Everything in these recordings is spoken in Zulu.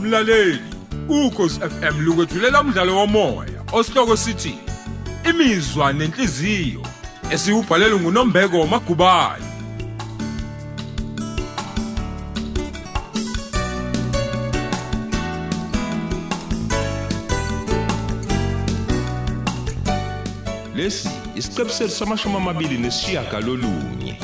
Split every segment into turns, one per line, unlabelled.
mlaleli ukhosi FM lukwethulela umdlalo womoya osihloko sithi imizwa nenhliziyo esiyubhalelwe nguNombeko Magubane
lesi isiqebu sethu samashumi amabili nesishiyagalolunye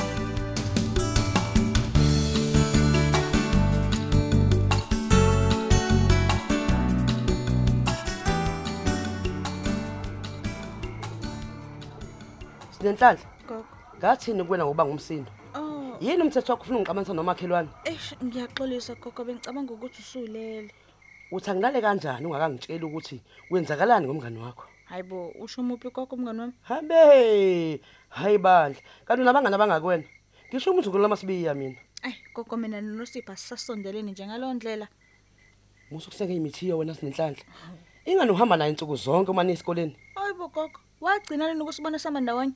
Sinenhlanhla.
Gogo.
Ngathini kuwena ngoba ngumsindo?
Oh,
Yini umthetho wakho ufuna ungiqamanisa nomakhelwane?
eish ngiyaxolisa gogo bengicabanga ukuthi usulele.
Uthi angilale kanjani ungakangitsheli ukuthi kwenzakalani ngomngani wakho?
Hayibo, usho umuphi gogo mngani wami?
Habe! Hayi bandla. Kanti nabangani abangakwena. Ngisho umuntu ngolo masibiya mina.
Ay, gogo mina noSipha sisasondelene njengalondlela.
Musukuseke imithiyo wena sinenhlanhla. Ingani uhamba nayo insuku zonke uma nisikoleni?
Hayibo gogo, wagcina leni ukusibona sama ndawonye.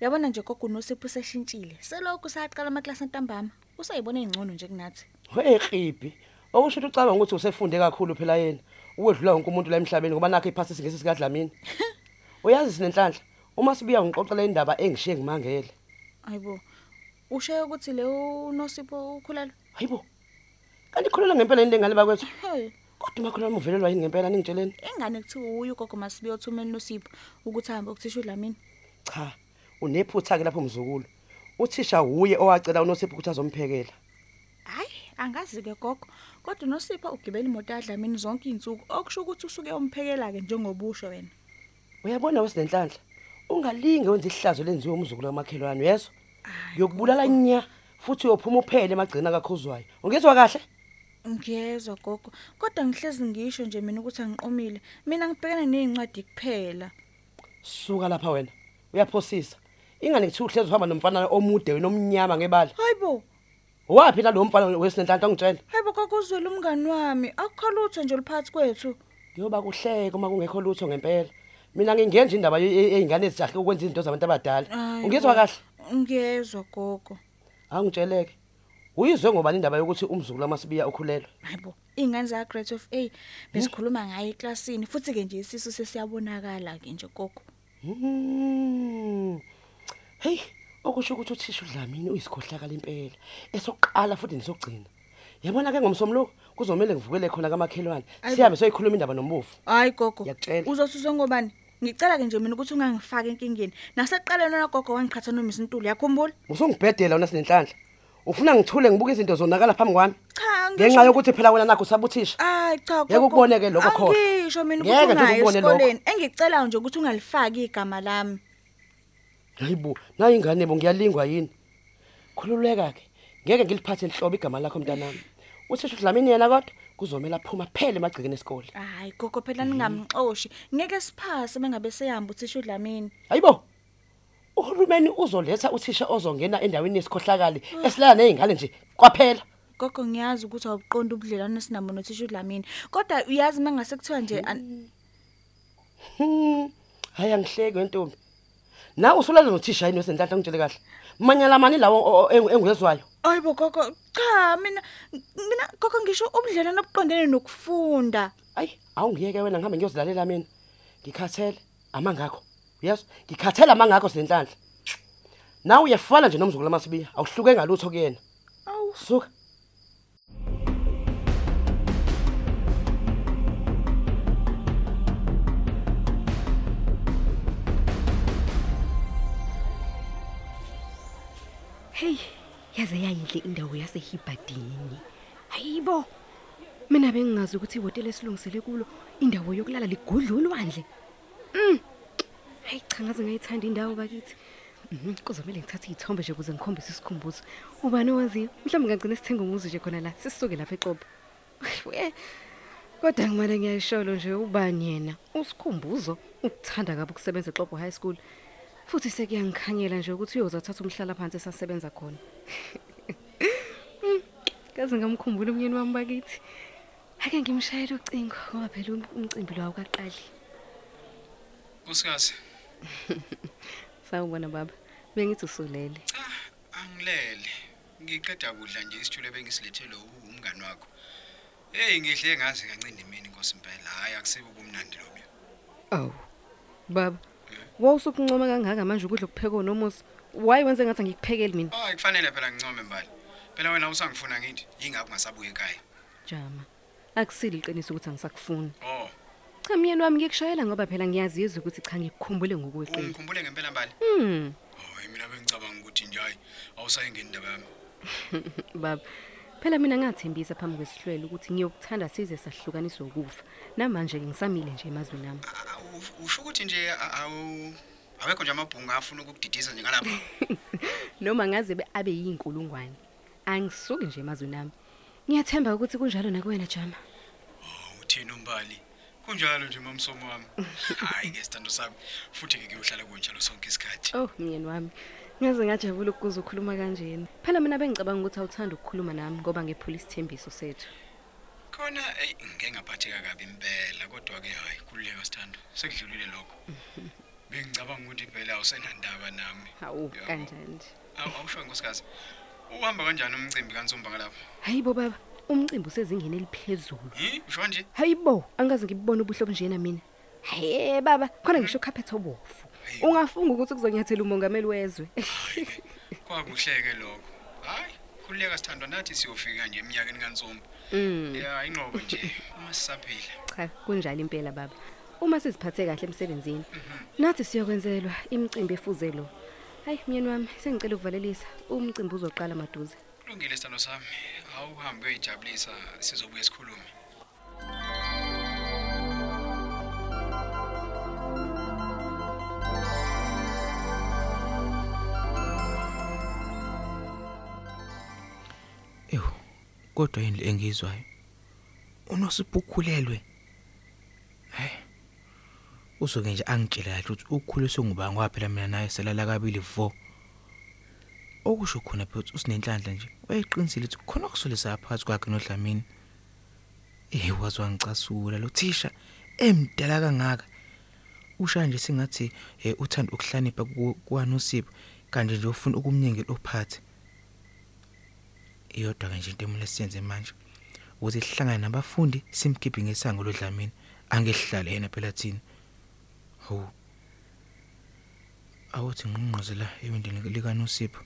Uyabona nje gogo noSipho seshintshile. Selokhu saqala amaklasi antambama. Usayibona ingcono nje kunathi.
Hey qhibi. Okusho ukuthi ucabanga ukuthi usefunde kakhulu phela yena. Uwedlula wonke umuntu la emhlabeni ngoba nakho iphasi singesi sikadlamini. Uyazi sinenhlanhla. Uma sibiya ngixoxela indaba engishiye ngimangele.
Hayibo. Ushaye ukuthi le uNosipho ukhulela.
Hayibo. Kanti khulula ngempela yini lengane bakwethu?
Hey,
Kodwa makhulana uvelelwa yini ngempela ningitsheleni?
ingane kuthiwa uyu gogo masibe yothumela noSipho ukuthi ahambe ukuthisha uDlamini.
Cha, unephutha ke lapho mzukulu. Uthisha uye owacela unosipho ukuthi azomphekela.
hayi angazi-ke gogo kodwa unosipha ugibela imoto yadlamini zonke iy'nsuku okusho ukuthi usuke umphekela-ke njengobusho wena
Uyabona wesinenhlanhla. Ungalinge wenze ihlazo lenziwe umzukulu kamakhelwane yeso. Ngiyokubulala nya futhi uyophuma uphele emagcina kakhozwayo. Ungizwa kahle?
ngiyezwa gogo kodwa ngihlezi ngisho nje mina ukuthi angiqomile mina ngibhekene ney'ncwadi kuphela
Suka lapha wena. Uyaphosisa. Ingane kuthi uhlezi uhamba nomfana omude wena omnyama ngebala.
hayi bo
Wapi nalo mfana wesinenhlanhla ongitshela?
hayi bo gogo uzwele umngani wami akukho lutho nje oluphakathi kwethu
Kuyoba kuhleke uma kungekho lutho ngempela. Mina ngingenza indaba ye- yeingane ezijahle ukwenza izinto zabantu abadala.
Hayi
Ungizwa
bo.
kahle?
ngiyezwa gogo
Angitsheleke. Uyizwe ngoba indaba yokuthi umzukulu amasibiya ukhulelwe.
hayi bo iy'ngane zaka-grade of a besikhuluma ngayo eklasini futhi-ke nje isisu sesiyabonakala-ke nje gogo
Mm. Hey, okusho ukuthi uthisha uDlamini uyisikhohlakala impela. Esokuqala futhi nisogcina. Yabona ke ngomsomlo kuzomela ngivukele khona kamakhelwane.
Ayibo.
Sihambe soyikhuluma indaba nombufu.
hayi gogo
Ngiyakutshela.
uzosuswe ngobani ngicela-ke nje mina ukuthi ungangifaki enkingeni nasekuqaleni ona gogo wangiqhatha nomisa intuli yakhumbula
Usungibhedela wena sinenhlanhla. Ufuna ngithule ngibuke izinto zonakala phambi kwami.
cha ngisho-
Ngenxa yokuthi phela wena nakho usabuthisha.
hayi cha
Ngeke
gogo,
ukubone-ke lokho khohlwa.
angisho mina
Ngeke
ukuthi
nje
ungayi
ukubone lokho.
esikoleni engicelayo nje ukuthi ungalifaki igama lami
Hayibo, nayi ingane bo ngiyalingwa yini? Khululeka ke. Ngeke ngiliphathe enhlobo igama lakho mntanami. Uthisha uDlamini yena kodwa kuzomela aphuma phele emagcikeni esikole.
hayi gogo phela
Mhm.
ningamxoshi ngeke siphase bengabe seyihamba uthisha udlamini
Hayibo. Uhulumeni uzoletha uthisha ozongena endaweni yesikhohlakali esilala nezingane nje kwaphela.
gogo ngiyazi ukuthi awubuqondi ubudlelwane esinabo nothisha udlamini kodwa uyazi uma ngase kuthiwa nje an-
Hmm. Hayi angihleke ntombi. Na usulala nothisha yini wesenhlahla ngitshele kahle. Manyala mani lawo o- o- engu- engiyezwayo.
hayi bo gogo cha mina mina gogo ngisho ubudlelwane obuqondene nokufunda
Ayi, awungiyeke wena ngihambe ngiyozidlalela mina. Ngikhathele amangakho. Yes, ngikhathele amangakho senhlanhla. Nawe uyafana nje nomzukulu amasibiya, awuhluke ngalutho kuyena.
awu
Suka.
Hey, yaze yayinhle indawo yasehibhadini. Hayibo. Mina bengingazi ukuthi ihotela esilungisele kulo indawo yokulala ligudlulwandle. Mm. Hayi cha ngaze ngayithanda indawo bakithi. Mhm, kuzomela ngithathe izithombe nje ukuze ngikhombise isikhumbuzo. Ubani owaziyo? Mhlawumbe ngagcina sithenga umuzi nje khona la. Sisuke lapha eqobo. Eh, Kodwa ngimane ngiyayisholo nje ubani yena usikhumbuzo ukuthanda kabi ukusebenza eXobo High School futhi sekuyangikhanyela nje ukuthi uyozathatha umhlala phansi esasebenza khona. Mm, Kaze ngamkhumbula umyeni wami bakithi. Ake ngimshayele ucingo ngoba phela um- umcimbi lwawo kaqali.
Nkosikazi,
Sawubona baba. Bengithi usulele.
angilele. Ngiqeda kudla nje isithulo bengisilethele umngani wakho. Hey ngihle ngazi kancane mina inkosi impela hayi akusibo kumnandi lobo.
Aw. Baba, wawusukuncoma kangaka manje ukudla okuphekwe nomusa. Waye wenze ngathi ngikuphekeli mina.
Hayi kufanele phela ngincome mbali. Phela wena usangifuna ngithi ingakho ungasabuye ekhaya.
Jama. Akusile iqiniso ukuthi angisakufuni.
Oh,
Cha myeni wami ngikushayela ngoba phela ngiyaziza ukuthi cha ngikukhumbule ngokweqiniso.
ungikhumbule ngempela mbali.
Mm.
Hayi mina bengicabanga ukuthi nje hayi awusayingeni indaba yami.
Baba. Phela mina ngathembisa phambi kwesihlwele ukuthi ngiyokuthanda size sahlukaniswa ukufa. Namanje ke ngisamile nje emazweni ami.
Awu- Usho ukuthi nje a- awu awekho nje amabhunga afuna ukukudidisa nje ngalapha.
Noma ngaze be- abe yinkulungwane. Angisuki nje emazweni ami. Ngiyathemba ukuthi kunjalo nakuwena Jama.
Uthini umbali? Kunjalo nje mamsomo wami. Hayi ke sithando sami. Futhi ke kuyohlala kunjalo sonke isikhathi.
Oh myeni wami. Ngaze ngajabula ukuzwa ukukhuluma kanjena. Phela mina bengicabanga ukuthi awuthanda ukukhuluma nami ngoba ngephula isithembiso sethu.
Khona ey ngeke ngaphatheka kabi impela kodwa ke hayi khululeka sithando. Sekudlulile lokho. Bengicabanga ukuthi impela awusenandaba nami.
Hawu
Yabo.
kanjani nje.
Awu awusho nkosikazi. Uhamba kanjani umcimbi kansumba ngalapha?
Hayibo baba, umcimbi usezingeni eliphezulu.
Hi, usho nje?
Hayibo, angaze ngibone ubuhlo obunjena mina. Haye baba, khona ngisho ukaphetha obofu. Ungafunga ukuthi kuzonyathela umongameli wezwe.
Kwakuhleke lokho. Hayi, khululeka sithandwa nathi siyofika nje eminyakeni kansumba.
Mm,
Ya, inqobo nje. Uma sisaphila.
cha, kunjalo impela baba. Uma siziphathe kahle emsebenzini, nathi siyokwenzelwa imicimbi efuzelo. Hayi myeni wami, sengicela ukuvalelisa. Umcimbi uzoqala maduze.
Kulungile sithando sami. Awuhambe uyijabulisa sizobuya sikhulume.
Ewu, kodwa yini le engizwayo? Unosiphukhulelwe. Hey. Usuke nje angitshela kahle ukuthi ukukhuliswe ngubani waphela mina naye selala kabili vo. Okusho khona phezulu usinenhlanhla nje. Wayeqinisile ukuthi khona okusolisa phakathi kwakhe noDlamini. Eh wazwa ngicasula lo thisha emdala kangaka. Usha nje singathi eh, uthanda ukuhlanipha ku- kwaNosipho kanti nje ufuna ukumnyenge ophathe. iyodwa ke nje into emele siyenze manje ukuthi sihlangane nabafundi simkhiphe ngesango lodlamini angehlale yena phela thina ho awuthi ngqongqozela ewindini lika Nosipho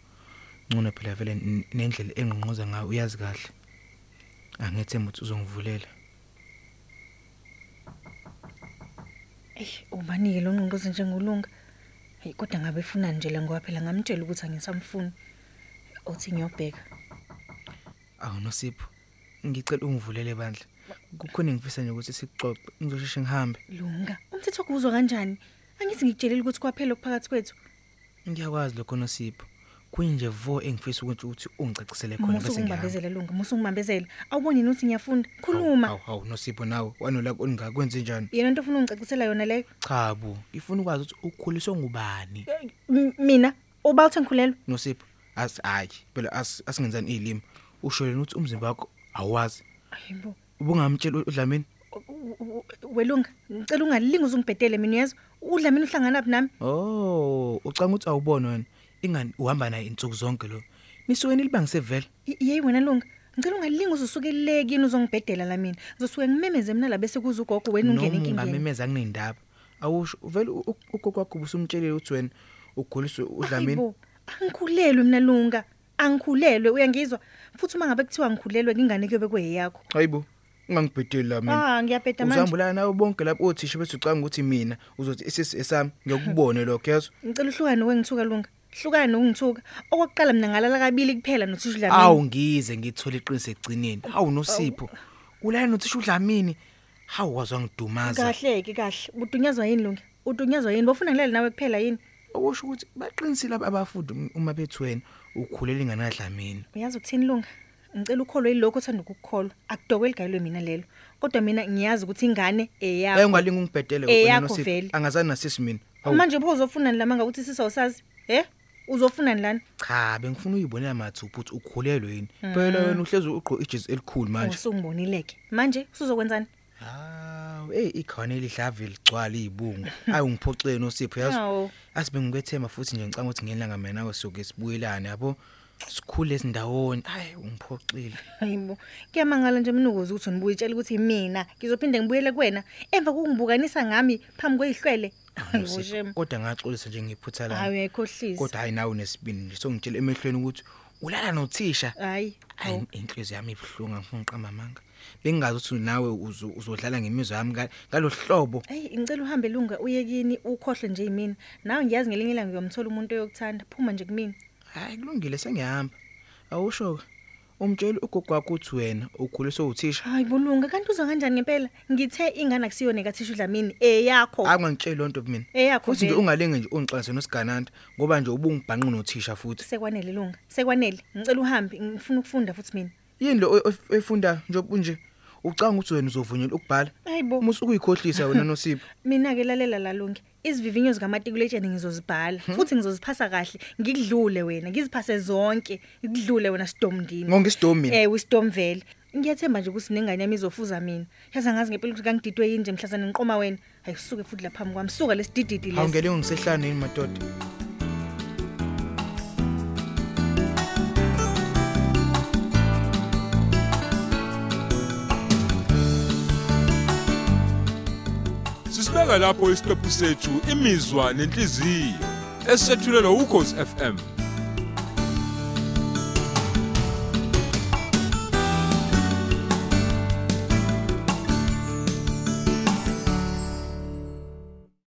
ngcono phela vele n- nendlela engqongqoza ngayo uyazi kahle angethemba ukuthi uzongivulela
Ey, ubanike lo nqonqoze njengolunga. Hey kodwa ngabe efuna nje le ngoba phela ngamtshela ukuthi angisamfuni. Uthi ngiyobheka.
awu Nosipho ngicela ungivulele bandla kukhona engifisa nje ukuthi sixoxe ngizosheshe ngihambe
Lunga, umthetho kuzwa kanjani? Angithi ngikutshelile ukuthi kwaphela okuphakathi kwethu.
ngiyakwazi lokho Nosipho kuyinje vo engifisa ukuthi uthi ungicacisele khona
Musu ungibambezela lunga, musu ungibambezela. Awuboni yini ukuthi ngiyafunda? Khuluma.
Hawu hawu Nosipho nawe wanolaka oningakwenzi njani?
Yena into ofuna ungicacisela yona leyo.
Cha bo, ifuna ukwazi ukuthi ukhuliswe ngubani?
Eh, M- Mina ubawuthi ngikhulelwe.
Nosipho, asi hayi, phela asi- asingenzani izilimi. Usho lena ukuthi umzimba wakho awazi.
Hayibo.
Ubungamtshela uDlamini?
u- u- u- Welunga, ngicela ungalingi uzungibhedele mina uyezwa. Udla mina uhlangana phi nami?
Oh, ucanga ukuthi awubona wena. Ingani uhamba naye insuku zonke lo. Nisuke nilibangise vele.
Y- Yeyi wena Lunga, ngicela ungalingi uzusukeleke yini uzongibhedela la mina. Ngizosuke ngimemeze mina la bese kuza ugogo wena ungene enkingeni.
Ungamemeza kunendaba. Awusho vele u- u- ugogo wakho ubusumtshelile ukuthi wena ukhuliswe uDlamini.
Hayibo, Angikhulelwe mina Lunga. Angikhulelwe uyangizwa? Futhi uma ngabe kuthiwa ngikhulelwe ingane kuyobe kweyeyakho.
Hayibo. Ungangibhedeli la mina.
Ah, ngiyabheda manje.
Uzambulana nawe bonke lapho othisha bethu ucanga ukuthi mina uzothi isisi esami ngiyakubone lokho yazo.
Ngicela uhlukane wengithuka Lunga. Hlukane nokungithuka. Okwakuqala mina ngalala kabili kuphela nothisha
Awu
Dlamini.
ngize ngithola iqiniso egcineni. Awu nosipho.
Oh.
Ulana nothisha uDlamini. Hawu wazwa ngidumaza.
Kahle ke kahle. Udunyazwa yini Lunga? Udunyazwa yini? Bofuna ngilale nawe kuphela yini?
Okusho ukuthi baqinisile ab- abafundi uma bethu wena ukhulela ingane kaDlamini.
Uyazi ukuthini Lunga? Ngicela ukholwe yilokho othanda ukukholwa. Akudokwe ligayelwe mina lelo. Kodwa mina ngiyazi ukuthi ingane
Baye
eyakho.
ungalinga ungibhedele
Eyakho
nosipho.
Eh, vele.
Angazani nasisi mina. Hawu,
Manje pho uzofunani lama ngakuthi sisawusazi? Eh? He? Uzofunani lana?
Cha, bengifuna uyibonela mathupha ukuthi ukhulelwe yini.
Hmm.
Phela wena uhlezi ugqo ijezi elikhulu manje.
Usungibonileke. Manje usuzokwenzani?
Hawu, hey ikhona elihlavi ligcwala izibungu. Ayi ngiphoxene uSipho yazi.
Hawu.
Asibe ngibethemba futhi nje ngicanga ukuthi ngelanga mina nawe soke sibuyelane yabo. sikhule sindawoni hayi ungiphoxile
hayibo kuyamangala nje mnukuzi ukuthi unibuyitshela ukuthi mina ngizophinde ngibuyele kuwena emva kokungibukanisa ngami phambi kweyihlwele hayibo shem
kodwa ngaxolisa nje ngiphutha
hayi
la
uyayikhohlisa
kodwa hayi nawe nesibini nje songitshela emehlweni ukuthi ulala nothisha
hayi
hayi inhliziyo yami ibhlunga ngifuna uqamba amanga bengazi ukuthi nawe uzo- uzodlala ngemizwa yami nga- ngalohlobo
Hey, ngicela uhambe lunga uye kini ukhohle nje yimina. Nawe ngiyazi ngelinye ilanga ngiyomthola umuntu oyokuthanda. Phuma nje kumina.
hayi kulungile sengihamba awusho umtsheli ugogo wakho uthi wena ukhuliswe uthisha
Hayi bulunga kanti uzwa kanjani ngempela? Ngithe ingane akusiyona ekathisha uDlamini eyakho.
akungangitsheli lonto mina
Eyakho
futhi nje
vele.
ungalinge nje ungixolise nosigananda ngoba nje ubungibhanqe nothisha futhi
Sekwanele lunga. Sekwanele. Ngicela uhambe ngifuna ukufunda futhi mina.
yini lo o- o- efunda nje unje ucanga ukuthi wena uzovunyelwa ukubhala
Hayibo.
uma usukuyikhohlisa wena nosipho
Mina ke lalela lalungi. Izivivinyo zikamatikulationing ngizozibhala futhi ngizozipasa kahle. Ngikudlule wena, ngiziphase zonke. Ngikudlule wena Sidomndini.
Ngonke isidom mina?
Eh, uSidomvele. Ngiyathemba nje ukuthi nengane yami izofuza mina. Yazi angazi ngempela ukuthi kangididwe yini nje mhlasana ngiqoma wena. Hayi suke futhi laphambi kwami. Suka lesidididi lesi.
awungele ngisehlane yini madoda
Sisibeka lapho isiqephu sethu imizwa nenhliziyo esethulelwa ukhozi FM